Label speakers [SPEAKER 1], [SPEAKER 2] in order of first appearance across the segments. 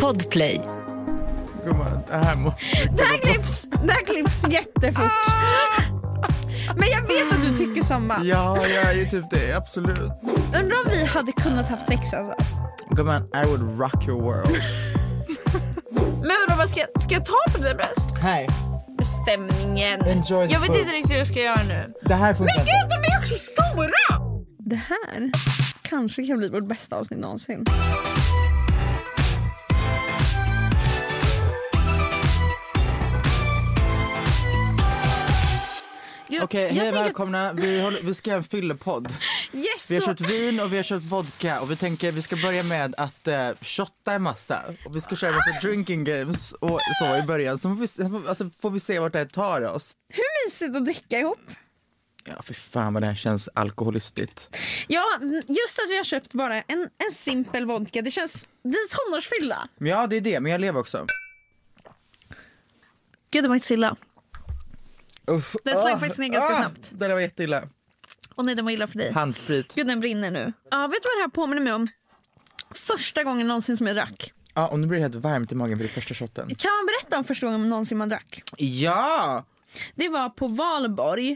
[SPEAKER 1] Podplay.
[SPEAKER 2] Gumman, det här måste
[SPEAKER 3] Det här klipps, det här klipps jättefort. Men jag vet att du tycker samma.
[SPEAKER 2] Ja, jag är ju typ det. Absolut.
[SPEAKER 3] Undrar om vi hade kunnat haft sex alltså.
[SPEAKER 2] Gumman, I would rock your world.
[SPEAKER 3] Men vadå, vad ska, jag- ska jag ta på dina bröst?
[SPEAKER 2] Här.
[SPEAKER 3] Stämningen.
[SPEAKER 2] Enjoy the
[SPEAKER 3] Jag vet
[SPEAKER 2] boobs.
[SPEAKER 3] inte riktigt hur jag ska göra nu.
[SPEAKER 2] Det här funkar
[SPEAKER 3] Men gud, de är också stora! Det här kanske kan bli vårt bästa avsnitt någonsin. Jag-
[SPEAKER 2] Okej,
[SPEAKER 3] jag
[SPEAKER 2] hej
[SPEAKER 3] tänker att-
[SPEAKER 2] välkomna. Vi, håller, vi ska göra en fyllepodd.
[SPEAKER 3] Yes,
[SPEAKER 2] Vi har
[SPEAKER 3] så-
[SPEAKER 2] köpt vin och vi har köpt vodka och vi tänker vi ska börja med att eh, shotta en massa. Och vi ska köra en
[SPEAKER 3] Ah!
[SPEAKER 2] massa drinking games och så i början. Så får vi, se- alltså, får vi se vart det här tar oss.
[SPEAKER 3] Hur mysigt att dricka ihop.
[SPEAKER 2] Ja, för fan vad det här känns alkoholistiskt.
[SPEAKER 3] Ja, just att vi har köpt bara en, en simpel vodka. Det känns... Det är tonårsfylla.
[SPEAKER 2] Men ja, det är det. Men jag lever också.
[SPEAKER 3] Gud, det var inte så illa.
[SPEAKER 2] Uff,
[SPEAKER 3] Den slank
[SPEAKER 2] ah,
[SPEAKER 3] faktiskt ner ganska snabbt.
[SPEAKER 2] Det där var jätteilla.
[SPEAKER 3] Och nej, den var illa för dig.
[SPEAKER 2] Handsprit.
[SPEAKER 3] Gud, den brinner nu. Ja, vet du vad det här påminner mig om? Första gången någonsin som jag drack.
[SPEAKER 2] Ja, och nu blir det helt varmt i magen för det första shotten.
[SPEAKER 3] Kan man berätta om första gången någonsin man drack?
[SPEAKER 2] Ja!
[SPEAKER 3] Det var på valborg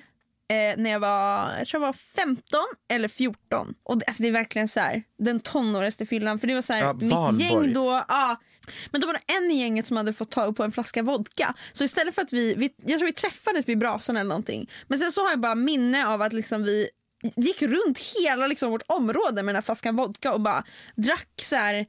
[SPEAKER 3] eh, när jag var, jag tror jag var 15 eller 14. Och det, alltså det är verkligen så här, den tonårigaste fyllan. För det var så här,
[SPEAKER 2] Ja,
[SPEAKER 3] mitt
[SPEAKER 2] Valborg.
[SPEAKER 3] gäng då, ja. Men då var det en i gänget som hade fått tag på en flaska vodka. Så istället för att vi, vi jag tror vi träffades vid brasan eller någonting. Men sen så har jag bara minne av att liksom vi gick runt hela liksom vårt område med den här flaskan vodka och bara drack så här en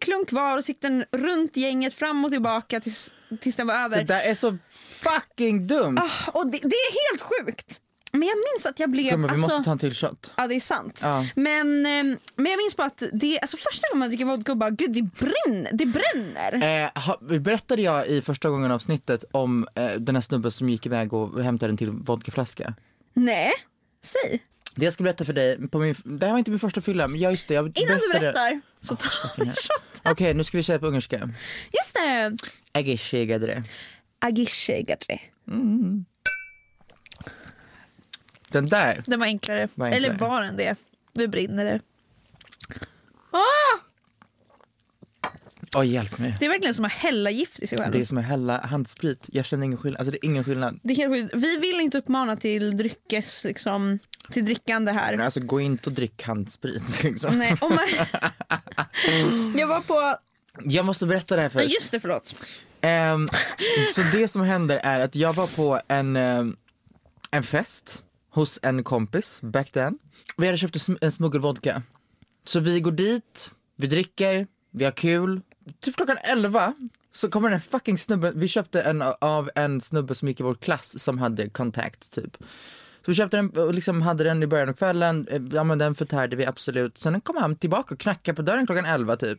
[SPEAKER 3] klunk var och så gick den runt gänget fram och tillbaka tills, tills den var över.
[SPEAKER 2] Det där är så fucking dumt.
[SPEAKER 3] Och det, det är helt sjukt. Men jag minns att jag blev...
[SPEAKER 2] Gumman, vi
[SPEAKER 3] alltså,
[SPEAKER 2] måste ta en till shot.
[SPEAKER 3] Ja, det är sant.
[SPEAKER 2] Ja.
[SPEAKER 3] Men, eh, men jag minns bara att det, alltså, första gången man dricker vodka och bara gud det brinner. Det bränner.
[SPEAKER 2] Eh, ha, berättade jag i första gången avsnittet om eh, den här snubben som gick iväg och hämtade en till vodkaflaska?
[SPEAKER 3] Nej, säg.
[SPEAKER 2] Det jag ska berätta för dig, på min, det här var inte min första fylla, men jag just det, jag
[SPEAKER 3] Innan du
[SPEAKER 2] berättade- Ah,
[SPEAKER 3] berättar så tar vi en shot.
[SPEAKER 2] Okej, nu ska vi köra på ungerska.
[SPEAKER 3] Just det.
[SPEAKER 2] Ägishegade det.
[SPEAKER 3] Agishe gadre.
[SPEAKER 2] Den där.
[SPEAKER 3] Den var enklare.
[SPEAKER 2] Var enklare.
[SPEAKER 3] Eller var den det? Nu brinner det. Ah,
[SPEAKER 2] Åh, hjälp mig.
[SPEAKER 3] det är verkligen som att hälla gift i sig själv.
[SPEAKER 2] Det är som att hälla handsprit. Jag känner ingen skillnad. Alltså det är ingen skillnad.
[SPEAKER 3] Det är helt sjukt. Vi vill inte uppmana till dryckes, liksom, till drickande här.
[SPEAKER 2] Men alltså gå inte och drick handsprit liksom.
[SPEAKER 3] Nej, om man... jag var på...
[SPEAKER 2] Jag måste berätta det här
[SPEAKER 3] Ja,
[SPEAKER 2] först.
[SPEAKER 3] just det, förlåt.
[SPEAKER 2] Ehm, så det som händer är att jag var på en, ehm, en fest hos en kompis back then. Vi hade köpt en sm- en smuggelvodka. Så vi går dit, vi dricker, vi har kul. Typ klockan 11 så kommer den här fucking snubben, vi köpte en a- av en snubbe som gick i vår klass som hade kontakt typ. Så vi köpte den och liksom hade den i början av kvällen, eh, ja men den förtärde vi absolut. Sen kom han tillbaka och knackade på dörren klockan 11 typ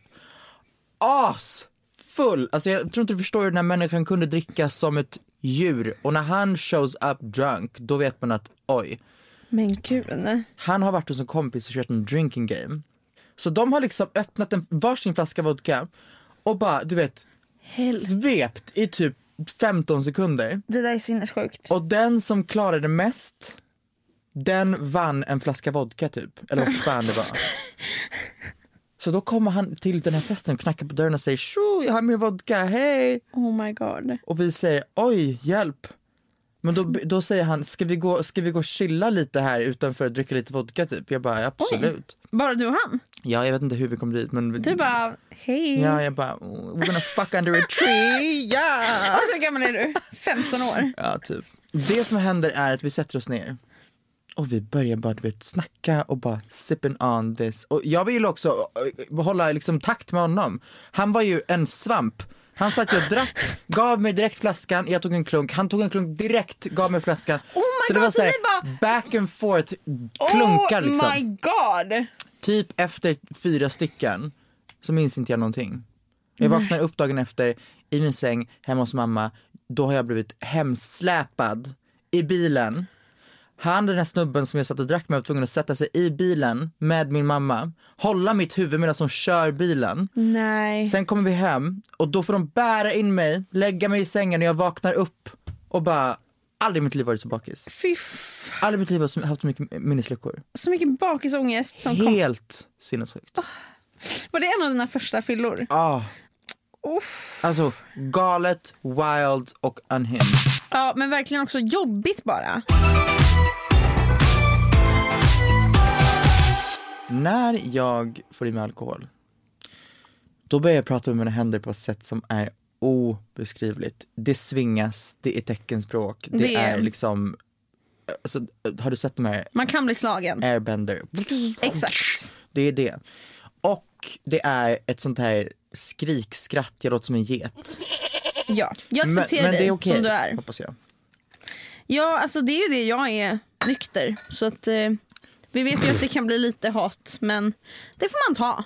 [SPEAKER 2] as full. Alltså jag tror inte du förstår hur den här människan kunde dricka som ett djur och när han shows up drunk då vet man att oj,
[SPEAKER 3] Men gud.
[SPEAKER 2] han har varit hos en kompis och kört en drinking game. Så de har liksom öppnat en varsin flaska vodka och bara, du vet, svept i typ 15 sekunder.
[SPEAKER 3] Det där är sinnessjukt.
[SPEAKER 2] Och den som klarade mest, den vann en flaska vodka typ. Eller vad fan det var. Så då kommer han till den här festen, knackar på dörren och säger tjo, jag har mer vodka, hej!
[SPEAKER 3] Oh my god.
[SPEAKER 2] Och vi säger oj, hjälp! Men då, då säger han, ska vi, gå, ska vi gå och chilla lite här utanför och dricka lite vodka typ? Jag bara absolut.
[SPEAKER 3] Bara du och han?
[SPEAKER 2] Ja, jag vet inte hur vi kom dit men...
[SPEAKER 3] Du bara, "Mm." hej.
[SPEAKER 2] Ja, jag bara, "Oh, we're gonna fuck under a tree, yeah!
[SPEAKER 3] Och så Alltså, gammal är du? 15 år.
[SPEAKER 2] Ja, typ. Det som händer är att vi sätter oss ner och vi börjar bara du vet, snacka och bara sipping on this. Och jag vill också eh, hålla liksom takt med honom. Han var ju en svamp. Han satt ju och drack, gav mig direkt flaskan, jag tog en klunk, han tog en klunk direkt, gav mig flaskan.
[SPEAKER 3] Oh my
[SPEAKER 2] så det
[SPEAKER 3] God,
[SPEAKER 2] var
[SPEAKER 3] så
[SPEAKER 2] såhär
[SPEAKER 3] ni
[SPEAKER 2] back and forth, klunkar
[SPEAKER 3] oh
[SPEAKER 2] liksom.
[SPEAKER 3] my god.
[SPEAKER 2] Typ efter fyra stycken så minns inte jag någonting. Jag vaknar upp dagen efter i min säng hemma hos mamma. Då har jag blivit hemsläpad i bilen. Han den här snubben som jag satt och drack med var tvungen att sätta sig i bilen med min mamma. Hålla mitt huvud medan hon kör bilen.
[SPEAKER 3] Nej.
[SPEAKER 2] Sen kommer vi hem och då får de bära in mig, lägga mig i sängen och jag vaknar upp och bara aldrig i mitt liv varit så bakis.
[SPEAKER 3] Fy f-
[SPEAKER 2] Aldrig i mitt liv har jag haft så mycket minnesluckor.
[SPEAKER 3] så mycket bakisångest som kom. Ah.
[SPEAKER 2] Helt sinnessjukt.
[SPEAKER 3] Var det en av dina första fyllor?
[SPEAKER 2] Ah.
[SPEAKER 3] Uff.
[SPEAKER 2] Alltså galet, wild och unhinged.
[SPEAKER 3] Ja, men verkligen också jobbigt bara.
[SPEAKER 2] När jag får i mig alkohol, då börjar jag prata med mina händer på ett sätt som är obeskrivligt. Det svingas, det är teckenspråk, det,
[SPEAKER 3] Det är-
[SPEAKER 2] är liksom... Alltså, har du sett de här
[SPEAKER 3] Man kan bli
[SPEAKER 2] Eh,
[SPEAKER 3] slagen.
[SPEAKER 2] airbender?
[SPEAKER 3] Exakt.
[SPEAKER 2] Det är det. Och det är ett sånt här skrikskratt, jag låter som en get.
[SPEAKER 3] Ja. Jag
[SPEAKER 2] Men,
[SPEAKER 3] accepterar
[SPEAKER 2] men det
[SPEAKER 3] dig
[SPEAKER 2] är okej,
[SPEAKER 3] som du är.
[SPEAKER 2] hoppas jag.
[SPEAKER 3] Ja, alltså det är ju det jag är nykter. Så att eh, vi vet ju att det kan bli lite hat, men det får man ta.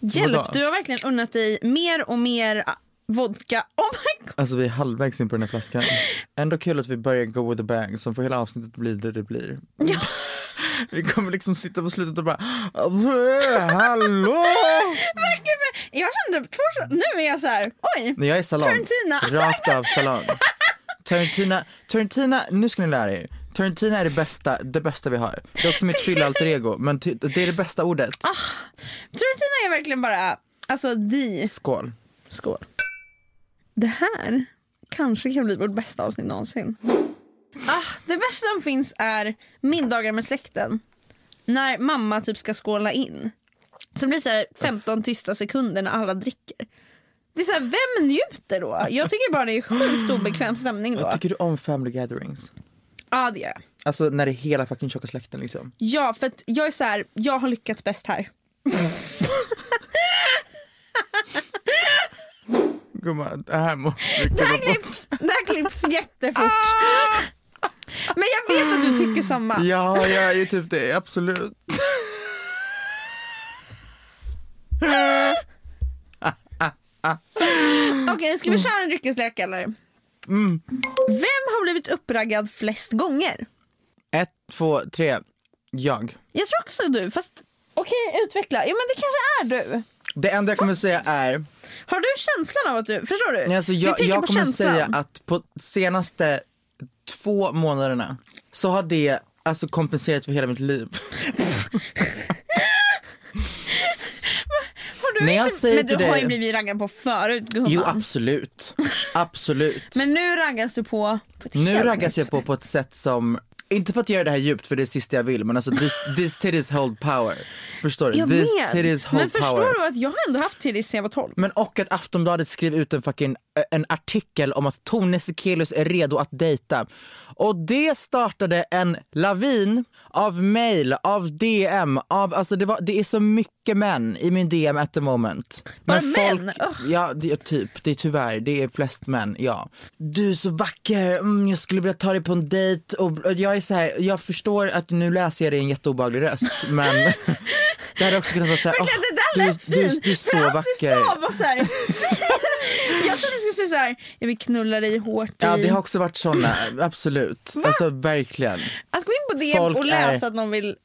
[SPEAKER 3] Hjälp,
[SPEAKER 2] Vadå?
[SPEAKER 3] du har verkligen unnat dig mer och mer ah, vodka. Oh my god!
[SPEAKER 2] Alltså vi är halvvägs in på den här flaskan. Ändå kul att vi börjar go with the bang som för hela avsnittet blir det det blir.
[SPEAKER 3] Ja.
[SPEAKER 2] Vi kommer liksom sitta på slutet och bara "Alltså, Hallå!
[SPEAKER 3] Verkligen, för jag kände två år sedan- nu är jag så här, oj.
[SPEAKER 2] När jag är salong,
[SPEAKER 3] Tarantino.
[SPEAKER 2] rakt av salong. Tarantino, Tarantino, nu ska ni lära er. Tarantino är det bästa, det bästa vi har. Det är också mitt fyllalter ego, men ty, det är det bästa ordet.
[SPEAKER 3] Ah. Tarantino är verkligen bara, alltså di.
[SPEAKER 2] Skål.
[SPEAKER 3] Skål. Det här kanske kan bli vårt bästa avsnitt någonsin. Ah, det värsta som finns är middagar med släkten. När mamma typ ska skåla in. Sen blir det så här 15 tysta sekunder när alla dricker. Det är så här, vem njuter då? Jag tycker bara det är sjukt obekväm stämning då.
[SPEAKER 2] Tycker du om family gatherings?
[SPEAKER 3] Ja det gör jag.
[SPEAKER 2] Alltså när det är hela fucking tjocka släkten liksom.
[SPEAKER 3] Ja för att jag är så här, jag har lyckats bäst här.
[SPEAKER 2] Gumman, det här måste vi
[SPEAKER 3] Det
[SPEAKER 2] komma
[SPEAKER 3] här
[SPEAKER 2] på.
[SPEAKER 3] klipps, det här klipps jättefort. Men jag vet att du tycker samma.
[SPEAKER 2] Ja, jag är ju typ det, absolut.
[SPEAKER 3] Okej, ska vi köra en dryckeslek eller? Mm. Vem har blivit uppraggad flest gånger?
[SPEAKER 2] Ett, två, tre. Jag.
[SPEAKER 3] Jag tror också du, fast okej utveckla. Ja men det kanske är du.
[SPEAKER 2] Det enda jag kommer
[SPEAKER 3] Fast-
[SPEAKER 2] säga är,
[SPEAKER 3] Har du känslan av att du, förstår du?
[SPEAKER 2] nej, alltså
[SPEAKER 3] Vi
[SPEAKER 2] jag,
[SPEAKER 3] pekar
[SPEAKER 2] jag
[SPEAKER 3] på
[SPEAKER 2] kommer
[SPEAKER 3] känslan.
[SPEAKER 2] säga att på senaste två månaderna så har det alltså kompenserat för hela mitt liv.
[SPEAKER 3] Har du
[SPEAKER 2] när jag
[SPEAKER 3] inte,
[SPEAKER 2] säger
[SPEAKER 3] men du
[SPEAKER 2] till
[SPEAKER 3] har
[SPEAKER 2] dig-
[SPEAKER 3] ju blivit raggad på förut gumman.
[SPEAKER 2] Jo absolut, absolut.
[SPEAKER 3] Men nu raggas du på, på ett
[SPEAKER 2] nu
[SPEAKER 3] helt
[SPEAKER 2] raggas
[SPEAKER 3] nytt
[SPEAKER 2] jag på
[SPEAKER 3] sätt.
[SPEAKER 2] på ett sätt som, inte för att göra det här djupt för det är det sista jag vill men alltså this, this titties hold power. Förstår du?
[SPEAKER 3] Jag
[SPEAKER 2] this
[SPEAKER 3] vet,
[SPEAKER 2] titties hold
[SPEAKER 3] men förstår
[SPEAKER 2] power.
[SPEAKER 3] du att jag har ändå haft titties sen jag var 12?
[SPEAKER 2] Men och att Aftonbladet skrev ut en fucking eh, en artikel om att Tone Sekelius är redo att dejta. Och det startade en lavin av mail, av DM, av alltså det, var, det är så mycket män i min DM at the moment.
[SPEAKER 3] Bara män?
[SPEAKER 2] folk,
[SPEAKER 3] Ugh.
[SPEAKER 2] Ja, det är typ, det är tyvärr, det är flest män, ja. Du är så vacker, mm, jag skulle vilja ta dig på en dejt och och jag är så här, jag förstår att nu läser jag dig i en jätteobehaglig röst men Det hade också kunnat vara såhär,
[SPEAKER 3] Verkligen, det
[SPEAKER 2] du,
[SPEAKER 3] där lät
[SPEAKER 2] du,
[SPEAKER 3] fint.
[SPEAKER 2] du är så
[SPEAKER 3] för allt
[SPEAKER 2] vacker.
[SPEAKER 3] du sa var såhär Jag trodde du skulle säga såhär, jag vill knulla dig hårt i...
[SPEAKER 2] Ja det har också varit såna, absolut. Alltså verkligen.
[SPEAKER 3] Att gå in på det
[SPEAKER 2] Folk
[SPEAKER 3] och
[SPEAKER 2] är-
[SPEAKER 3] läsa att någon vill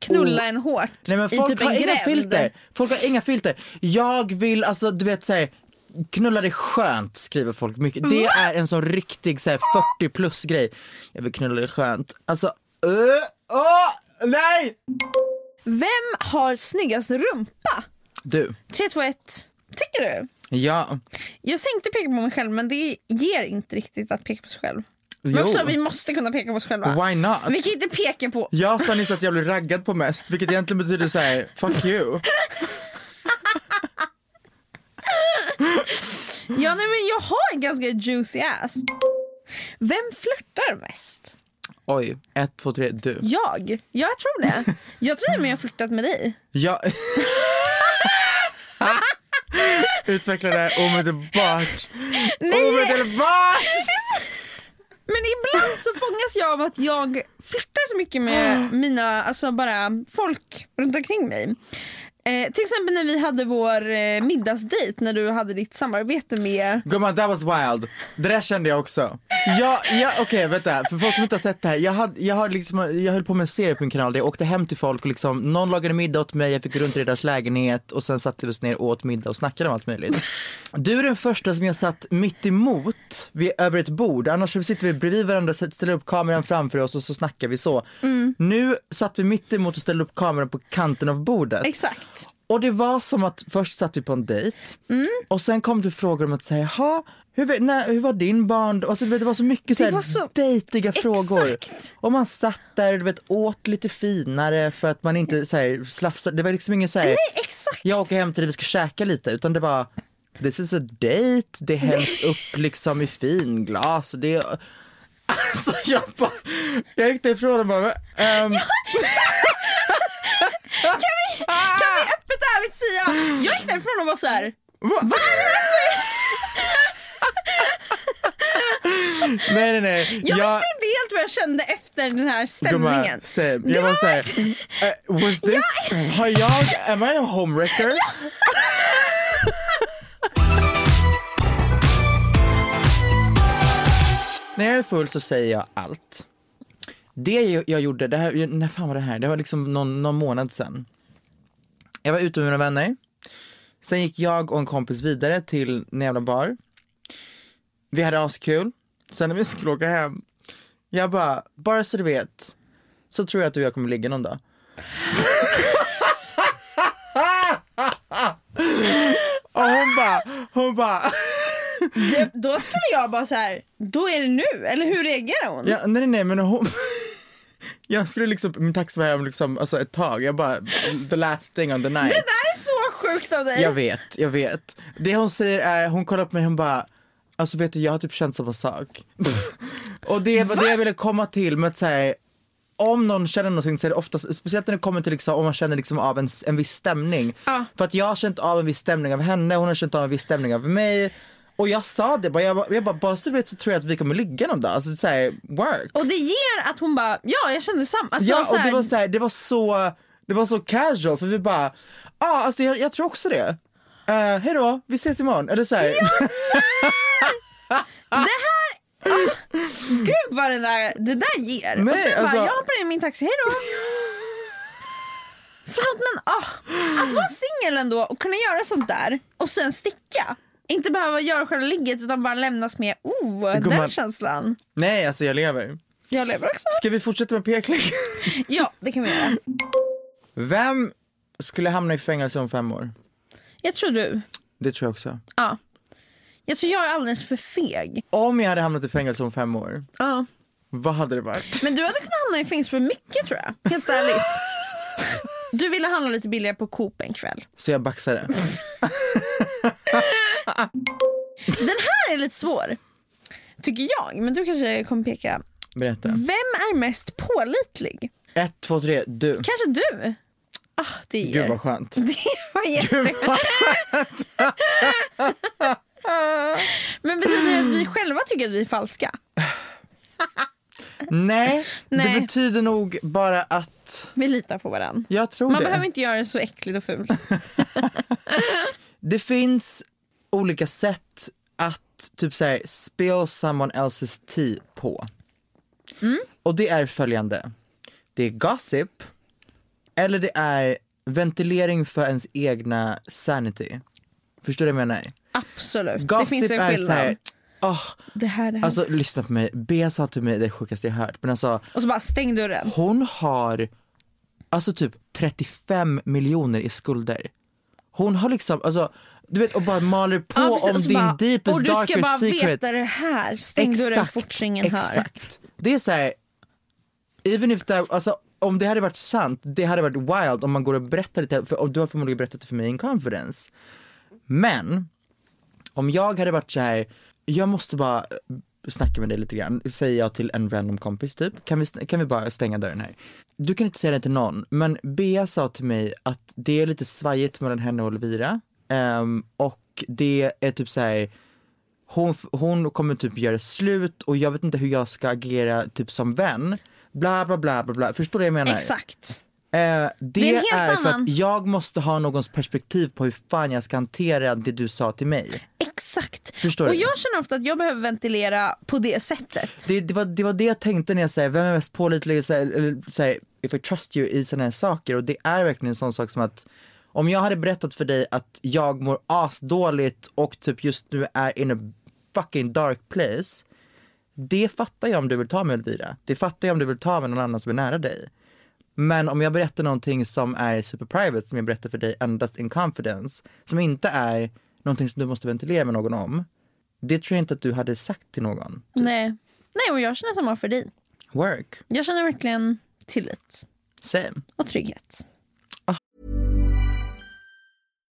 [SPEAKER 3] knulla en hårt
[SPEAKER 2] Nej men folk
[SPEAKER 3] i typ en
[SPEAKER 2] har inga
[SPEAKER 3] gränd.
[SPEAKER 2] filter. Folk har inga filter. Jag vill, alltså du vet såhär, knulla dig skönt skriver folk mycket. Det är en sån riktig såhär 40 plus grej. Jag vill knulla dig skönt. Alltså, uh, åh, nej!
[SPEAKER 3] Vem har snyggast rumpa?
[SPEAKER 2] Du,
[SPEAKER 3] 3, 2, 1. Tycker du?
[SPEAKER 2] ja,
[SPEAKER 3] Jag tänkte peka på mig själv men det ger inte riktigt att peka på sig själv. Men
[SPEAKER 2] Jo.
[SPEAKER 3] också vi måste kunna peka på oss själva.
[SPEAKER 2] why not?
[SPEAKER 3] Vi kan inte peka på...
[SPEAKER 2] Jag sa nyss att jag blev raggad på mest, vilket egentligen betyder såhär, fuck you.
[SPEAKER 3] Ja, nej, men jag har en ganska juicy ass. Vem flörtar mest?
[SPEAKER 2] Oj, ett, två, tre, du.
[SPEAKER 3] Jag? Jag tror det. Jag tror att jag har flörtat med dig.
[SPEAKER 2] Jag... Utveckla det här omedelbart. Omedelbart!
[SPEAKER 3] Men ibland så fångas jag av att jag flörtar så mycket med mina, alltså bara folk runt omkring mig. Eh, till exempel när vi hade vår eh, middagsdejt när du hade ditt samarbete med...
[SPEAKER 2] Gumman, that was wild. Det där kände jag också. Jag, jag, Okej, vänta. För folk som inte har sett det här. Jag, hade, jag, har liksom, jag höll på med en serie på min kanal där jag åkte hem till folk och liksom, någon lagade middag åt mig, jag fick gå runt i deras lägenhet och sen satte vi oss ner och åt middag och snackade om allt möjligt. Du är den första som jag satt mitt emot vid, över ett bord. Annars så sitter vi bredvid varandra och ställer upp kameran framför oss och så snackar vi så. Nu satt vi mitt emot och ställde upp kameran på kanten av bordet.
[SPEAKER 3] Exakt.
[SPEAKER 2] Och det var som att först satt vi på en dejt
[SPEAKER 3] Mm.
[SPEAKER 2] och sen kom det frågor om att säga, jaha, hur, vet- när, hur var din barndom? Alltså, du vet, det var så mycket så här
[SPEAKER 3] var så-
[SPEAKER 2] dejtiga frågor.
[SPEAKER 3] Exakt.
[SPEAKER 2] Och man satt där du vet, åt lite finare för att man inte så här, slafsade. Det var liksom ingen så här,
[SPEAKER 3] Exakt.
[SPEAKER 2] jag åker hem till dig vi ska käka lite, utan det var this is a date, det hälls upp liksom i finglas. Det... Alltså jag bara, jag gick därifrån och bara, ehm,
[SPEAKER 3] Kan vi öppet och ärligt säga, jag gick därifrån och var så här.
[SPEAKER 2] Va? nej nej nej.
[SPEAKER 3] Jag, visste inte helt vad jag kände efter den här
[SPEAKER 2] Gumman,
[SPEAKER 3] stämningen.
[SPEAKER 2] same. Jag var såhär, eh, was this, har jag, am I a homewrecker? När jag är full så säger jag allt. Det jag gjorde, det här, när fan var det här? Det var liksom någon, någon månad sedan. Jag var ute med mina vänner. Sen gick jag och en kompis vidare till en jävla bar. Vi hade askul. Sen när vi skulle åka hem jag bara, bara så du vet, så tror jag att du och jag kommer ligga någon dag. och hon bara, hon bara,
[SPEAKER 3] Det, då skulle jag bara så här. då är det nu. Eller hur reagerar hon?
[SPEAKER 2] ja, nej nej, nej men hon, jag skulle liksom, min taxi var hem liksom, alltså ett tag, jag bara, the last thing on the night.
[SPEAKER 3] Det där är så sjukt av dig.
[SPEAKER 2] Jag vet, jag vet. Det hon säger är, hon kollar på mig och hon bara, alltså vet du jag har typ känt samma sak. och det var det jag ville komma till med att säga om någon känner någonting så är det oftast, speciellt när det kommer till liksom, om man känner liksom av en, s- en viss stämning. För att jag har känt av en viss stämning av henne, hon har känt av en viss stämning av mig. Och jag sa det bara, jag, bara- jag bara, bara så du vet så tror jag att vi kommer ligga någon dag. Alltså såhär, work.
[SPEAKER 3] Och det ger att hon bara, ja jag kände samma. Alltså,
[SPEAKER 2] Ja,
[SPEAKER 3] så
[SPEAKER 2] och
[SPEAKER 3] här,
[SPEAKER 2] det var så här, det var så, det var så casual för vi bara, ja ah, alltså jag, jag tror också det. Uh, hej då, vi ses imorgon. Eller så här,
[SPEAKER 3] Gud vad det där, det där ger.
[SPEAKER 2] Nej,
[SPEAKER 3] och sen
[SPEAKER 2] alltså-
[SPEAKER 3] bara, jag hoppar in i min taxi, hejdå. Förlåt men ah, att vara singel ändå och kunna göra sånt där och sen sticka. Inte behöva göra själva ligget utan bara lämnas med oh, den
[SPEAKER 2] Gumman.
[SPEAKER 3] känslan.
[SPEAKER 2] nej alltså jag lever.
[SPEAKER 3] Jag lever också.
[SPEAKER 2] Ska vi fortsätta med pekleken?
[SPEAKER 3] Ja, det kan vi göra.
[SPEAKER 2] Vem skulle hamna i fängelse om fem år?
[SPEAKER 3] Jag tror du.
[SPEAKER 2] Det tror jag också.
[SPEAKER 3] Ja. Jag tror jag är alldeles för feg.
[SPEAKER 2] Om jag hade hamnat i fängelse om fem år,
[SPEAKER 3] Ja.
[SPEAKER 2] vad hade det varit?
[SPEAKER 3] Men du hade kunnat hamna i fängelse för mycket tror jag. Helt ärligt. Du ville handla lite billigare på Coop en kväll.
[SPEAKER 2] Så jag baxade.
[SPEAKER 3] Den här är lite svår. Tycker jag, men du kanske kommer peka.
[SPEAKER 2] Berätta.
[SPEAKER 3] Vem är mest pålitlig?
[SPEAKER 2] Ett, två, tre, du.
[SPEAKER 3] Kanske du? Ah, det ger.
[SPEAKER 2] Gud vad skönt.
[SPEAKER 3] Det var jätteskönt. Men betyder det att vi själva tycker att vi är falska?
[SPEAKER 2] Nej,
[SPEAKER 3] Nej.
[SPEAKER 2] det betyder nog bara att
[SPEAKER 3] Vi litar på varandra.
[SPEAKER 2] jag tror
[SPEAKER 3] Man
[SPEAKER 2] det.
[SPEAKER 3] behöver inte göra det så äckligt och fult.
[SPEAKER 2] Det finns olika sätt att typ så här, spill someone else's tea
[SPEAKER 3] Mm.
[SPEAKER 2] på. Och det är följande. Det är gossip, Eller det är ventilering för ens egna sanity. Förstår du vad jag menar?
[SPEAKER 3] Absolut. det
[SPEAKER 2] Gossip
[SPEAKER 3] finns en
[SPEAKER 2] är så
[SPEAKER 3] skillnad.
[SPEAKER 2] här, åh,
[SPEAKER 3] det här, det här.
[SPEAKER 2] alltså lyssna på mig, Bea sa till mig det sjukaste jag hört, men alltså
[SPEAKER 3] och så bara stäng dörren.
[SPEAKER 2] hon har alltså typ 35 miljoner i skulder. Hon har liksom, alltså du vet och bara maler på
[SPEAKER 3] Ja, precis.
[SPEAKER 2] om
[SPEAKER 3] Och så
[SPEAKER 2] din
[SPEAKER 3] bara,
[SPEAKER 2] deepest
[SPEAKER 3] och du ska
[SPEAKER 2] darkest
[SPEAKER 3] bara
[SPEAKER 2] secret.
[SPEAKER 3] veta det här. Stäng dörren fort så ingen hör.
[SPEAKER 2] Exakt. Det är så här, even if that, alltså om det hade varit sant, det hade varit wild om man går och berättar det till, för och du har förmodligen berättat det för mig i en conference. Men, om jag hade varit så här, jag måste bara eh, snacka med dig lite grann, säger jag till en random kompis typ, kan vi, kan vi bara stänga dörren här? Du kan inte säga det till någon, men Bea sa till mig att det är lite svajigt mellan henne och Elvira, Ehm, och det är typ så här, hon, hon kommer typ göra slut och jag vet inte hur jag ska agera typ som vän. Bla bla bla bla bla, förstår du vad jag menar?
[SPEAKER 3] Exakt.
[SPEAKER 2] Eh, det,
[SPEAKER 3] är en
[SPEAKER 2] är,
[SPEAKER 3] helt
[SPEAKER 2] för
[SPEAKER 3] annan-
[SPEAKER 2] att jag måste ha någons perspektiv på hur fan jag ska hantera det du sa till mig.
[SPEAKER 3] Exakt.
[SPEAKER 2] Förstår
[SPEAKER 3] och
[SPEAKER 2] du?
[SPEAKER 3] jag känner ofta att jag behöver ventilera på det sättet.
[SPEAKER 2] Det, det, var, det var det jag tänkte när jag säger vem är mest pålitlig, så här, eller så här, if I trust you i sådana här saker och det är verkligen en sån sak som att om jag hade berättat för dig att jag mår asdåligt och typ just nu är in a fucking dark place, det fattar jag om du vill ta med Elvira. Det fattar jag om du vill ta med någon annan som är nära dig. Men om jag berättar någonting som är super private, som jag berättar för dig endast in confidence, som inte är någonting som du måste ventilera med någon om, det tror jag inte att du hade sagt till någon.
[SPEAKER 3] Nej. Nej, och jag känner samma för dig.
[SPEAKER 2] Work.
[SPEAKER 3] Jag känner verkligen tillit
[SPEAKER 2] Same.
[SPEAKER 3] och trygghet.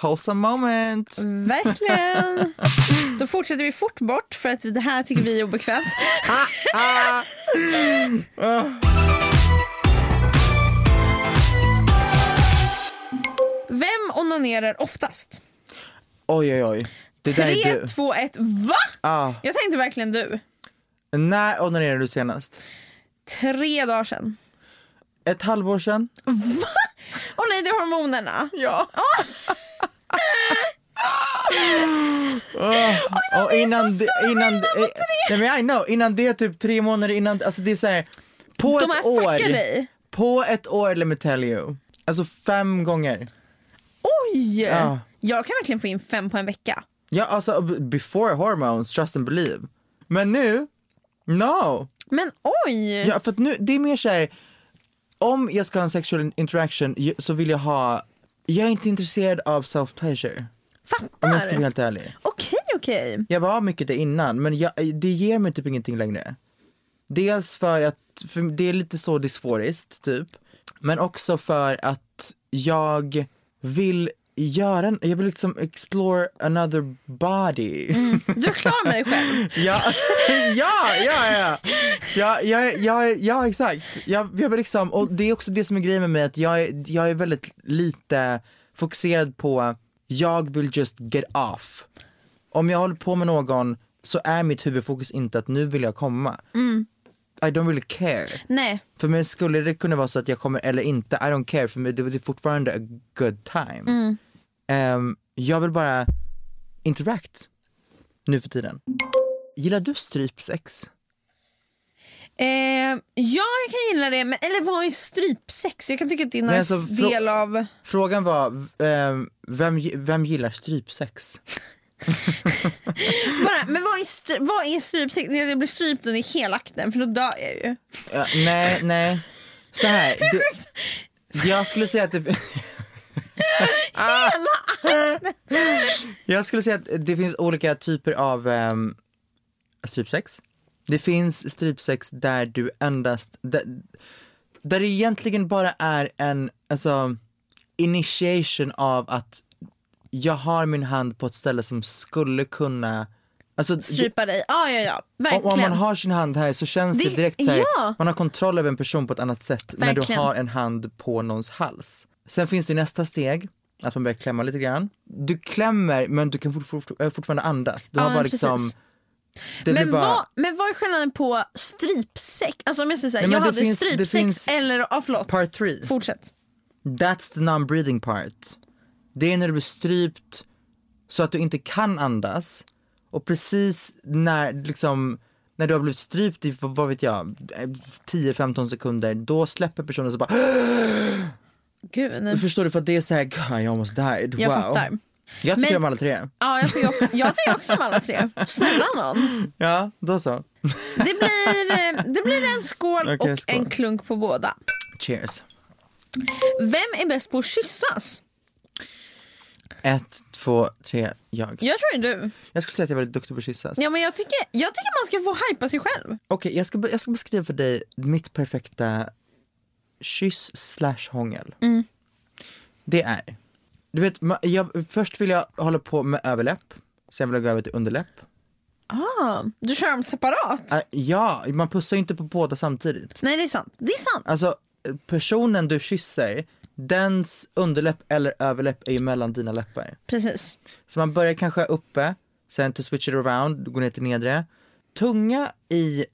[SPEAKER 2] Wholesome moment.
[SPEAKER 3] Mm. Verkligen. Då fortsätter vi fort bort för att det här tycker vi är obekvämt.
[SPEAKER 2] Ah.
[SPEAKER 3] Vem onanerar oftast?
[SPEAKER 2] Oj oj oj. Det där är du.
[SPEAKER 3] 3, 2, 1, va?
[SPEAKER 2] Ah.
[SPEAKER 3] Jag tänkte verkligen du.
[SPEAKER 2] När onanerade du senast?
[SPEAKER 3] Tre dagar sedan.
[SPEAKER 2] Ett halvår sedan? Ah.
[SPEAKER 3] Va? Åh nej, det är hormonerna.
[SPEAKER 2] Ja.
[SPEAKER 3] Ah.
[SPEAKER 2] Ah. och innan det, innan, eh, nej, men I know, innan det typ tre månader innan, alltså det är såhär, på
[SPEAKER 3] De här
[SPEAKER 2] ett år,
[SPEAKER 3] fuckar dig.
[SPEAKER 2] på ett år let me tell you, alltså fem gånger.
[SPEAKER 3] Oj!
[SPEAKER 2] Ja.
[SPEAKER 3] Jag kan verkligen få in fem på en vecka.
[SPEAKER 2] Ja alltså b- before hormones, trust and believe. Men nu, no.
[SPEAKER 3] Men oj!
[SPEAKER 2] Ja, för att nu, det är mer såhär, om jag ska ha en sexual interaction ju- så vill jag ha, jag är inte intresserad av self pleasure. Om jag ska vara
[SPEAKER 3] Fattar.
[SPEAKER 2] helt ärlig.
[SPEAKER 3] Okej, okej.
[SPEAKER 2] Jag var mycket det innan men jag, det ger mig typ ingenting längre. Dels för att, för det är lite så dysforiskt typ. Men också för att jag vill göra, en- jag vill liksom explore another body.
[SPEAKER 3] Du är klar med dig själv.
[SPEAKER 2] Ja, ja, ja, ja. Ja, ja, ja, ja exakt. Jag, jag vill liksom, och det är också det som är grejen med mig att jag, är- jag är väldigt lite fokuserad på, jag vill just get off. Om jag håller på med någon så är mitt huvudfokus inte att nu vill jag komma. I don't really care.
[SPEAKER 3] Nej.
[SPEAKER 2] För mig skulle det kunna vara så att jag kommer eller inte, I don't care, för mig det, det är fortfarande a good time. Ehm, jag vill bara interact nu för tiden. Gillar du strypsex?
[SPEAKER 3] Eh, ja, jag kan gilla det. Men, eller vad är strypsex? Jag kan tycka att det är en
[SPEAKER 2] Nej,
[SPEAKER 3] nice
[SPEAKER 2] alltså, frå-
[SPEAKER 3] del av...
[SPEAKER 2] Frågan var, ehm, vem, gi- vem gillar strypsex?
[SPEAKER 3] Bara, men vad är, stry, vad är strypsex? När jag blir strypt under hela akten, för då dör jag ju.
[SPEAKER 2] Ja, nej, nej. Så här. Du, jag skulle säga att det... Hela Jag skulle säga att det finns olika typer av um, strypsex. Det finns strypsex där du endast... Där, där det egentligen bara är en alltså, initiation av att jag har min hand på ett ställe som skulle kunna... Alltså,
[SPEAKER 3] Strypa dig. Ja, ja, ja.
[SPEAKER 2] om, om man
[SPEAKER 3] Verkligen.
[SPEAKER 2] har sin hand här så känns det,
[SPEAKER 3] Det-
[SPEAKER 2] direkt så här,
[SPEAKER 3] ja.
[SPEAKER 2] man har kontroll över en person på ett annat sätt när du
[SPEAKER 3] Verkligen.
[SPEAKER 2] har en hand på någons hals. Sen finns det nästa steg, att man börjar klämma lite grann. Du klämmer men du kan fort, fort, eh, fortfarande andas. Du
[SPEAKER 3] Ja,
[SPEAKER 2] har bara
[SPEAKER 3] men
[SPEAKER 2] liksom...
[SPEAKER 3] precis.
[SPEAKER 2] Det blir
[SPEAKER 3] Men,
[SPEAKER 2] bara,
[SPEAKER 3] vad, men vad är skillnaden på strypsex? Alltså om jag säger så här,
[SPEAKER 2] Nej, men
[SPEAKER 3] jag
[SPEAKER 2] det
[SPEAKER 3] hade
[SPEAKER 2] finns- det
[SPEAKER 3] strypsex
[SPEAKER 2] finns-
[SPEAKER 3] eller... Ja, förlåt.
[SPEAKER 2] Part three.
[SPEAKER 3] Fortsätt.
[SPEAKER 2] That's the non-breathing part. Det är när du blir strypt så att du inte kan andas och precis när liksom när du har blivit strypt i, vad vad vet jag, 10-15 sekunder, då släpper personen så bara
[SPEAKER 3] Gud, nej.
[SPEAKER 2] Förstår du? För att det är så här, God, I almost died.
[SPEAKER 3] Jag
[SPEAKER 2] wow.
[SPEAKER 3] fattar.
[SPEAKER 2] Jag tycker
[SPEAKER 3] Men-
[SPEAKER 2] om alla tre.
[SPEAKER 3] Ja, jag, jag, jag tycker också om alla tre. Snälla någon.
[SPEAKER 2] Ja, då så.
[SPEAKER 3] Det blir, eh, det blir en skål
[SPEAKER 2] Okej,
[SPEAKER 3] och
[SPEAKER 2] skål.
[SPEAKER 3] en klunk på båda.
[SPEAKER 2] Cheers.
[SPEAKER 3] Vem är bäst på att kyssas?
[SPEAKER 2] Ett, två, tre, jag.
[SPEAKER 3] Jag tror det är du.
[SPEAKER 2] Jag skulle säga att jag är väldigt duktig på att kyssas.
[SPEAKER 3] Ja, men jag, tycker, jag tycker man ska få hypa sig själv.
[SPEAKER 2] Okej, jag, ska, be- jag ska beskriva för dig mitt perfekta kyss slash hångel.
[SPEAKER 3] Mm.
[SPEAKER 2] Det är, du vet, ma- jag, först vill jag hålla på med överläpp, sen vill jag gå över till underläpp.
[SPEAKER 3] Ah, du kör dem separat?
[SPEAKER 2] Äh, ja, man pussar ju inte på båda samtidigt.
[SPEAKER 3] Nej, det är sant. Det är sant.
[SPEAKER 2] Alltså personen du kysser, dens underläpp eller överläpp är ju mellan dina läppar.
[SPEAKER 3] Precis.
[SPEAKER 2] Så man börjar kanske uppe, sen to switch it around, du går ner till nedre. Tunga i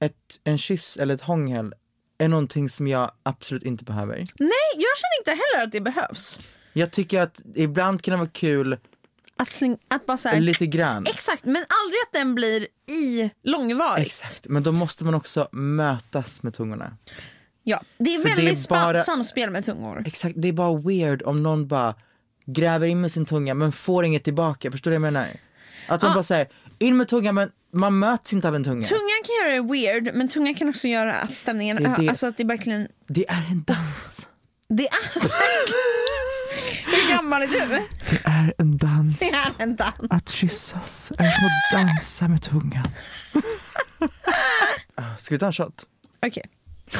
[SPEAKER 2] ett, en kyss eller ett hångel är någonting som jag absolut inte behöver.
[SPEAKER 3] Nej, jag känner inte heller att det behövs.
[SPEAKER 2] Jag tycker att ibland kan det vara kul
[SPEAKER 3] Att, sling, att bara så här,
[SPEAKER 2] lite grann.
[SPEAKER 3] Exakt, men aldrig att den blir i långvarigt.
[SPEAKER 2] Exakt. Men då måste man också mötas med tungorna.
[SPEAKER 3] Ja, det är
[SPEAKER 2] det är
[SPEAKER 3] väldigt spa-
[SPEAKER 2] bara-
[SPEAKER 3] samspel med tungor.
[SPEAKER 2] Exakt, det är bara weird om någon bara gräver in med sin tunga men får inget tillbaka, förstår du vad jag menar? Att
[SPEAKER 3] Ah.
[SPEAKER 2] man bara säger in med tungan men man möts inte av en tunga.
[SPEAKER 3] Tungan kan göra det weird, men tungan kan också göra att stämningen
[SPEAKER 2] Det är
[SPEAKER 3] ö-
[SPEAKER 2] det-
[SPEAKER 3] Alltså att det verkligen...
[SPEAKER 2] det är en dans.
[SPEAKER 3] Det är... Hur gammal är du?
[SPEAKER 2] Det är en dans.
[SPEAKER 3] Det är en dans.
[SPEAKER 2] Att kyssas är som att dansa med tungan. Ah, Ska vi ta en shot? Ah!
[SPEAKER 3] Okej. Vi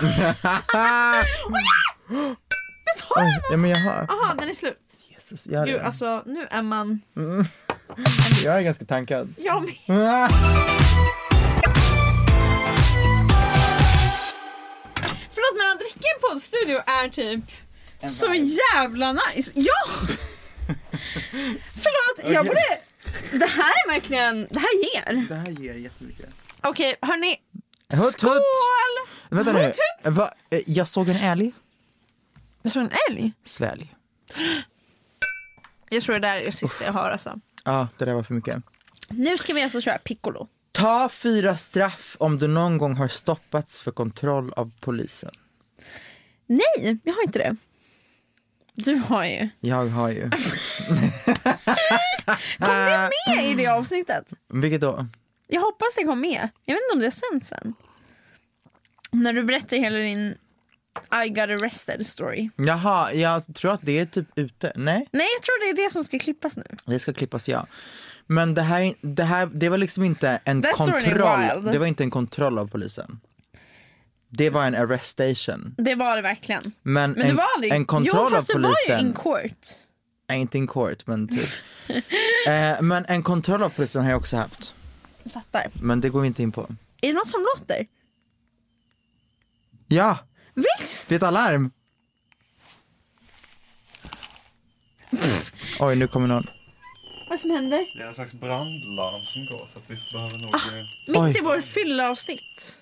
[SPEAKER 3] tar den!
[SPEAKER 2] Ja men jag har.
[SPEAKER 3] Jaha, den är slut.
[SPEAKER 2] Jesus, jag,
[SPEAKER 3] Gud, alltså nu är man...
[SPEAKER 2] jag är ganska tankad.
[SPEAKER 3] Jag med.
[SPEAKER 2] Mm.
[SPEAKER 3] Förlåt men att dricka i en poddstudio är typ så jävla nice. Ja! Förlåt, jag borde... Det här är verkligen... Det här ger.
[SPEAKER 2] Det här ger jättemycket.
[SPEAKER 3] Okej, hörni.
[SPEAKER 2] Hutt,
[SPEAKER 3] Skål!
[SPEAKER 2] hutt. Vänta nu.
[SPEAKER 3] Hutt, hutt.
[SPEAKER 2] Va, eh, jag såg en älg.
[SPEAKER 3] Jag såg en älg.
[SPEAKER 2] Svälj.
[SPEAKER 3] Jag tror det där är det sista jag har alltså.
[SPEAKER 2] Ja, det där var för mycket.
[SPEAKER 3] Nu ska vi alltså köra piccolo.
[SPEAKER 2] Ta fyra straff om du någon gång har stoppats för kontroll av polisen.
[SPEAKER 3] Nej, jag har inte det. Du har ju.
[SPEAKER 2] Jag har ju. Ah.
[SPEAKER 3] Med i det avsnittet.
[SPEAKER 2] Vilket då?
[SPEAKER 3] Jag hoppas det kom med. Jag vet inte om det har sänts sen. När du berättar hela din I got arrested story.
[SPEAKER 2] Jaha, jag tror att det är typ ute. Nej,
[SPEAKER 3] Nej, jag tror det är det som ska klippas nu.
[SPEAKER 2] det ska klippas ja. Men det här, det här det var liksom inte en
[SPEAKER 3] That's already
[SPEAKER 2] kontroll.
[SPEAKER 3] wild.
[SPEAKER 2] Det var inte en kontroll av polisen. Det var en arrest station.
[SPEAKER 3] Det var det verkligen.
[SPEAKER 2] Men,
[SPEAKER 3] Men
[SPEAKER 2] en,
[SPEAKER 3] du var aldrig...
[SPEAKER 2] en kontroll
[SPEAKER 3] jo, fast
[SPEAKER 2] av
[SPEAKER 3] du var ju in
[SPEAKER 2] polisen.
[SPEAKER 3] court.
[SPEAKER 2] Nej, inte in court, men typ. eh, men en kontroll av polisen har jag också haft.
[SPEAKER 3] Jag Fattar.
[SPEAKER 2] Men det går vi inte in på.
[SPEAKER 3] Är det något som låter?
[SPEAKER 2] Ja,
[SPEAKER 3] Visst!
[SPEAKER 2] det är ett alarm. Oj, nu kommer någon.
[SPEAKER 3] Vad som händer?
[SPEAKER 4] Det är en slags brandlarm som går så att vi behöver nog... eh,
[SPEAKER 3] Mitt
[SPEAKER 2] Oj.
[SPEAKER 3] i vår fylla avsnitt.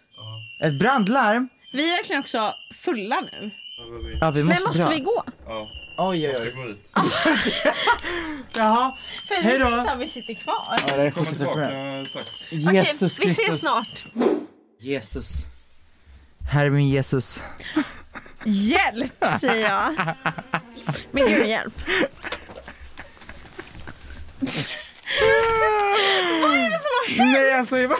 [SPEAKER 2] Ett brandlarm?
[SPEAKER 3] Vi är verkligen också fulla nu.
[SPEAKER 2] Ja, vi måste
[SPEAKER 3] Men måste
[SPEAKER 2] dra.
[SPEAKER 3] vi gå?
[SPEAKER 2] Oj, oj, oj.
[SPEAKER 4] Gå ut.
[SPEAKER 2] Jaha.
[SPEAKER 3] För
[SPEAKER 2] Hej då.
[SPEAKER 3] vi vet att vi sitter kvar.
[SPEAKER 2] Ja, det är
[SPEAKER 4] Kommer
[SPEAKER 2] sjukaste jag varit med
[SPEAKER 4] tillbaka eh, strax.
[SPEAKER 2] om.
[SPEAKER 3] Okej,
[SPEAKER 2] Jesus
[SPEAKER 3] vi ses
[SPEAKER 2] Kristus.
[SPEAKER 3] snart.
[SPEAKER 2] Jesus. Här är min Jesus.
[SPEAKER 3] Hjälp säger jag. Men gud hjälp. Vad är det som har hänt?
[SPEAKER 2] Nej, alltså jag bara...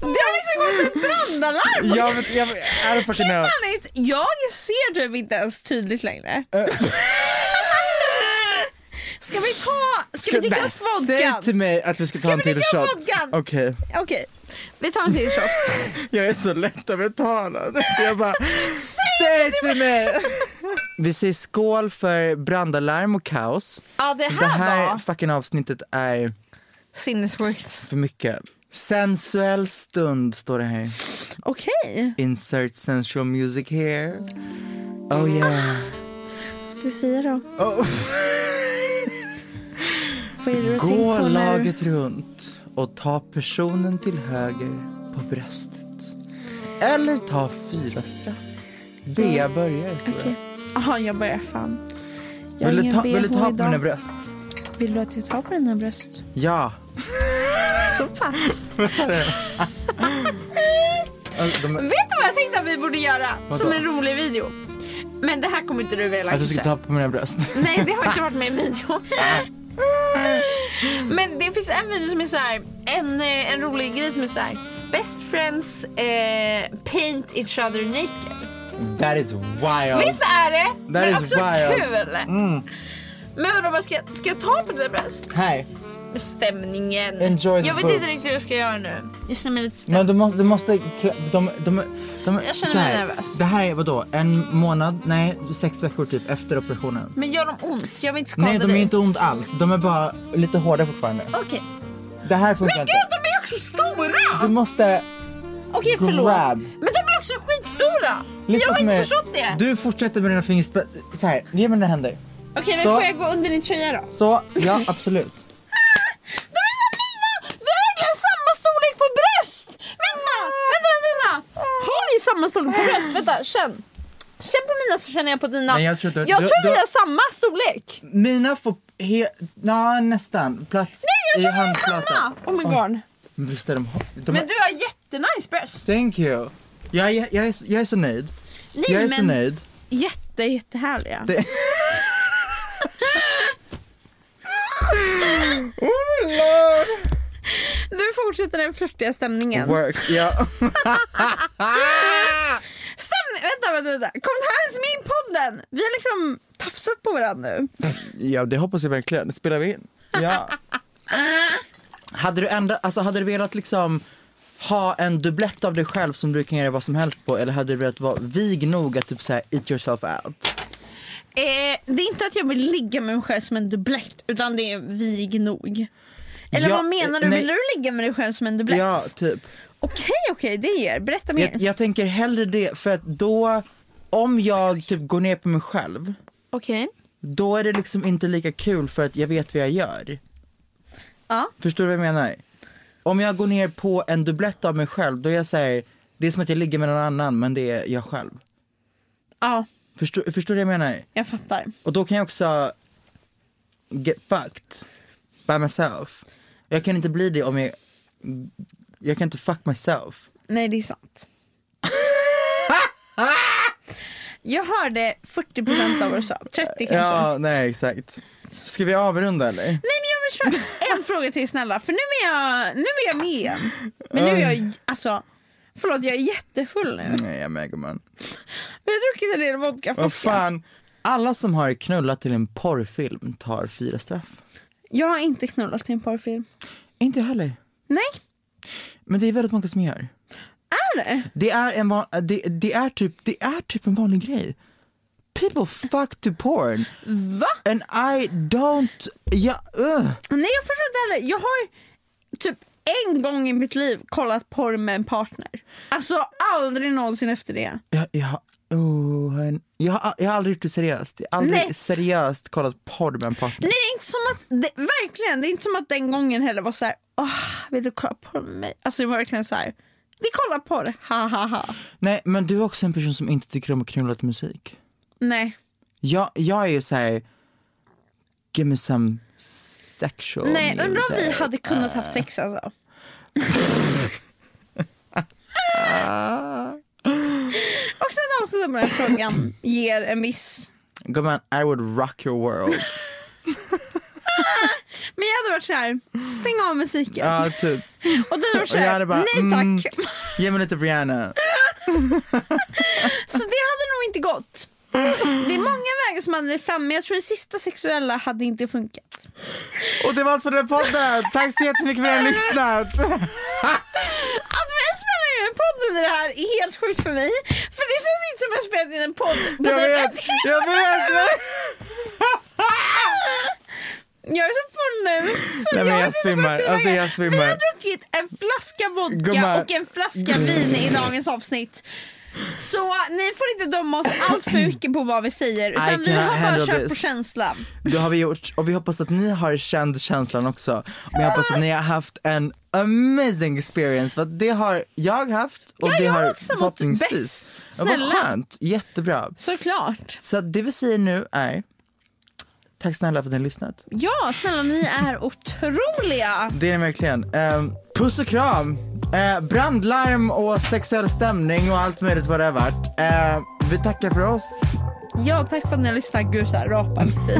[SPEAKER 3] Det har liksom gått ett brandalarm.
[SPEAKER 2] Jag vet, jag vet, är det fascinerad?
[SPEAKER 3] Helt ärligt, jag ser typ inte ens tydligt längre. Ska vi ta, ska, vi dricka
[SPEAKER 2] Nej,
[SPEAKER 3] upp
[SPEAKER 2] Säg
[SPEAKER 3] vodkan?
[SPEAKER 2] till mig att vi ska,
[SPEAKER 3] Ska
[SPEAKER 2] ta en
[SPEAKER 3] vi
[SPEAKER 2] till
[SPEAKER 3] dricka upp
[SPEAKER 2] shot.
[SPEAKER 3] vodkan?
[SPEAKER 2] Okej.
[SPEAKER 3] Okej, vi tar en till shot.
[SPEAKER 2] Jag är så lättövertalad så jag bara, säg till mig! Vi säger skål för brandalarm och kaos.
[SPEAKER 3] Ja det här,
[SPEAKER 2] Det här
[SPEAKER 3] var
[SPEAKER 2] fucking avsnittet är
[SPEAKER 3] sinnessjukt.
[SPEAKER 2] för mycket. Sensuell stund står det här.
[SPEAKER 3] Okej.
[SPEAKER 2] Insert sensual music here. Oh yeah.
[SPEAKER 3] Vad ska vi säga då?
[SPEAKER 2] Oh.
[SPEAKER 3] Vad är det du har tänkt
[SPEAKER 2] Gå
[SPEAKER 3] på när du...
[SPEAKER 2] laget runt och ta personen till höger på bröstet. Eller ta fyra straff. Bea börjar står
[SPEAKER 3] Okej.
[SPEAKER 2] det.
[SPEAKER 3] Jaha, jag börjar fan. Jag har
[SPEAKER 2] Vill du
[SPEAKER 3] ingen
[SPEAKER 2] ta, vill du
[SPEAKER 3] VH
[SPEAKER 2] ta på
[SPEAKER 3] idag.
[SPEAKER 2] mina bröst?
[SPEAKER 3] Vill du att jag tar på dina bröst?
[SPEAKER 2] Ja.
[SPEAKER 3] Så pass.
[SPEAKER 2] Alltså, de-
[SPEAKER 3] Vet du vad jag tänkte att vi borde göra som en rolig video? Men det här kommer inte du vilja
[SPEAKER 2] Att du
[SPEAKER 3] kanske.
[SPEAKER 2] skulle ta på mina bröst.
[SPEAKER 3] Nej, det har inte varit med i en video. Men det finns en video som är så här, en, eh, en rolig grej som är så här. Best friends eh, paint each other naked.
[SPEAKER 2] That is wild.
[SPEAKER 3] Mm. Visst är det? Men
[SPEAKER 2] is
[SPEAKER 3] också
[SPEAKER 2] wild. Mm.
[SPEAKER 3] kul. Men undrar om jag ska, ska jag ta på dina bröst?
[SPEAKER 2] Här.
[SPEAKER 3] Med stämningen.
[SPEAKER 2] Enjoy the
[SPEAKER 3] jag vet inte
[SPEAKER 2] boobs.
[SPEAKER 3] riktigt hur jag ska göra nu. Jag känner mig lite stämd.
[SPEAKER 2] Men du måste, du måste, klä- de, de, de,
[SPEAKER 3] Jag känner
[SPEAKER 2] så
[SPEAKER 3] mig
[SPEAKER 2] här.
[SPEAKER 3] nervös.
[SPEAKER 2] Det här är vadå, en månad, nej sex veckor typ efter operationen.
[SPEAKER 3] Men gör de ont? Jag vill inte skada
[SPEAKER 2] Nej de
[SPEAKER 3] dig.
[SPEAKER 2] är inte ont alls, de är bara lite hårda fortfarande.
[SPEAKER 3] Okej.
[SPEAKER 2] Det här funkar
[SPEAKER 3] Men
[SPEAKER 2] inte.
[SPEAKER 3] gud, de är också stora!
[SPEAKER 2] Du måste,
[SPEAKER 3] Okej, förlåt.
[SPEAKER 2] Grab.
[SPEAKER 3] Men de är också skitstora!
[SPEAKER 2] lyssna
[SPEAKER 3] jag har
[SPEAKER 2] på
[SPEAKER 3] inte
[SPEAKER 2] mig.
[SPEAKER 3] förstått det.
[SPEAKER 2] Du fortsätter med dina fingerspetsar, så här, ge mig dina händer.
[SPEAKER 3] Okej, men
[SPEAKER 2] Så.
[SPEAKER 3] får jag gå under din tröja då?
[SPEAKER 2] Så, ja absolut.
[SPEAKER 3] De är så fina! Vi har verkligen samma storlek på bröst! Vänta, vänta, vänta, vänta. Har vi samma storlek på bröst? Vänta, känn. Känn på mina så känner jag på dina.
[SPEAKER 2] Nej, jag tror inte-
[SPEAKER 3] jag
[SPEAKER 2] du-
[SPEAKER 3] tror
[SPEAKER 2] du-
[SPEAKER 3] vi har samma storlek.
[SPEAKER 2] Mina får, he, na, nästan, plats
[SPEAKER 3] Nej, jag
[SPEAKER 2] i
[SPEAKER 3] tror vi har
[SPEAKER 2] handflatan.
[SPEAKER 3] samma! Oh my god.
[SPEAKER 2] Men Visst är de, de
[SPEAKER 3] Men du har jättenice bröst.
[SPEAKER 2] Thank you. Jag, är- jag, är, jag är så nöjd.
[SPEAKER 3] Nej,
[SPEAKER 2] jag är så
[SPEAKER 3] men-
[SPEAKER 2] nöjd.
[SPEAKER 3] Jätte, jättehärliga.
[SPEAKER 2] Det- Oh my lord!
[SPEAKER 3] Nu fortsätter den flörtiga stämningen.
[SPEAKER 2] Work, ja.
[SPEAKER 3] Stämning, vänta, vänta, vänta. Kom det här ens med i podden? Vi har liksom tafsat på varandra nu.
[SPEAKER 2] ja, det hoppas jag verkligen. Spelar vi in? Ja. hade du ändrat, alltså hade du velat liksom ha en dubblett av dig själv som du kan göra vad som helst på eller hade du velat vara vig nog att typ såhär eat yourself out?
[SPEAKER 3] Eh, det är inte att jag vill ligga med mig själv som en dubblett utan det är vig nog. Eller
[SPEAKER 2] Ja,
[SPEAKER 3] vad menar du?
[SPEAKER 2] eh, nej.
[SPEAKER 3] Vill du ligga med dig själv som en dubblett?
[SPEAKER 2] Ja, typ.
[SPEAKER 3] Okej, okej, det är er. Berätta mer.
[SPEAKER 2] Jag, jag tänker hellre det för att då, om jag typ går ner på mig själv
[SPEAKER 3] Okej.
[SPEAKER 2] då är det liksom inte lika kul för att jag vet vad jag gör.
[SPEAKER 3] Ja.
[SPEAKER 2] Förstår du vad jag menar? Om jag går ner på en dubblett av mig själv, då är jag såhär, det är som att jag ligger med någon annan men det är jag själv.
[SPEAKER 3] Ja,
[SPEAKER 2] Förstår, förstår du vad jag menar?
[SPEAKER 3] jag fattar.
[SPEAKER 2] Och då kan jag också get fucked by myself. Jag kan inte bli det om jag, jag kan inte fuck myself.
[SPEAKER 3] Nej, det är sant. jag hörde 40% av vad du sa. 30 kanske.
[SPEAKER 2] Ja, nej exakt. Ska vi avrunda eller?
[SPEAKER 3] Nej, men jag vill köra en fråga till snälla. För nu är jag, nu är jag med igen. Men nu är jag, alltså, förlåt jag är jättefull nu.
[SPEAKER 2] Nej, jag är med gumman.
[SPEAKER 3] Jag har druckit en del
[SPEAKER 2] Mm. Vad
[SPEAKER 3] vodkaflaska.
[SPEAKER 2] fan. Alla som har knullat till en porrfilm tar fyra straff.
[SPEAKER 3] Jag har inte knullat i en porrfilm.
[SPEAKER 2] Inte jag heller.
[SPEAKER 3] Nej.
[SPEAKER 2] Men det är väldigt många som gör.
[SPEAKER 3] Är det?
[SPEAKER 2] Det är, en van, det, det, är typ, det är typ en vanlig grej. People fuck to porn.
[SPEAKER 3] Va?
[SPEAKER 2] And I don't... uh. Jag, ugh.
[SPEAKER 3] Nej jag förstår inte heller. Jag har typ en gång i mitt liv kollat porr med en partner. Alltså aldrig någonsin efter det.
[SPEAKER 2] jag, jag, oh, han- jag, har- jag har aldrig gjort det seriöst. Jag har aldrig
[SPEAKER 3] Nej.
[SPEAKER 2] seriöst kollat porr med en partner.
[SPEAKER 3] Nej, det är inte som att, det, verkligen, det är inte som att den gången heller var så här, åh, vill du kolla på mig? Alltså det var verkligen så här, vi kollar på det, ha ha ha.
[SPEAKER 2] Nej, men du är också en person som inte tycker om att knulla till musik.
[SPEAKER 3] Nej,
[SPEAKER 2] Jag, jag är ju såhär, give me some sexual
[SPEAKER 3] Nej undrar om vi
[SPEAKER 2] music.
[SPEAKER 3] hade kunnat haft
[SPEAKER 2] Ah.
[SPEAKER 3] sex alltså.
[SPEAKER 2] Ah.
[SPEAKER 3] Och sen avslutar man den här frågan, ger en viss
[SPEAKER 2] Gumman, I would rock your world.
[SPEAKER 3] men jag hade varit så här, stäng av musiken.
[SPEAKER 2] ja, typ.
[SPEAKER 3] och du hade varit så
[SPEAKER 2] och jag
[SPEAKER 3] här,
[SPEAKER 2] hade bara,
[SPEAKER 3] nej tack.
[SPEAKER 2] mm. Ge mig lite Rihanna.
[SPEAKER 3] Så det hade nog inte gått. Det är många vägar som hade fram, men jag tror den sista sexuella hade inte funkat.
[SPEAKER 2] Och det var allt för den här podden. Tack så jättemycket för att ni har lyssnat.
[SPEAKER 3] Att vi ens spelar in en podd under det här är helt sjukt för mig. För det känns inte som att jag spelat in en podd. på
[SPEAKER 2] Jag
[SPEAKER 3] den här
[SPEAKER 2] vet,
[SPEAKER 3] tiden.
[SPEAKER 2] jag vet.
[SPEAKER 3] Jag är så full nu. Så
[SPEAKER 2] Nej, men jag
[SPEAKER 3] vet inte vad
[SPEAKER 2] svimmar.
[SPEAKER 3] ska
[SPEAKER 2] Alltså,
[SPEAKER 3] väga.
[SPEAKER 2] jag svimmar.
[SPEAKER 3] Vi har druckit en flaska vodka
[SPEAKER 2] Gumman.
[SPEAKER 3] och en flaska vin i dagens avsnitt. Så ni får inte döma oss allt för mycket på vad vi säger utan vi
[SPEAKER 2] cannot
[SPEAKER 3] har bara
[SPEAKER 2] handle
[SPEAKER 3] kört på
[SPEAKER 2] this.
[SPEAKER 3] känsla.
[SPEAKER 2] Det har vi gjort och vi hoppas att ni har känt känslan också. Men jag hoppas att ni har haft en amazing experience för att det har jag haft och
[SPEAKER 3] Ja,
[SPEAKER 2] det
[SPEAKER 3] jag
[SPEAKER 2] har
[SPEAKER 3] också mått
[SPEAKER 2] förhoppningsvis.
[SPEAKER 3] bäst.
[SPEAKER 2] Ja, vad
[SPEAKER 3] Snälla.
[SPEAKER 2] skönt, jättebra.
[SPEAKER 3] Såklart.
[SPEAKER 2] Så att det vi säger nu är, tack snälla för att ni har lyssnat.
[SPEAKER 3] Ja, snälla ni är otroliga.
[SPEAKER 2] Det är ni verkligen. Ehm, puss och kram, Eh, brandlarm och sexuell stämning och allt möjligt vad det har varit. Eh, vi tackar för oss.
[SPEAKER 3] Ja, tack för att ni har lyssnat. Gud, så här rapar fy.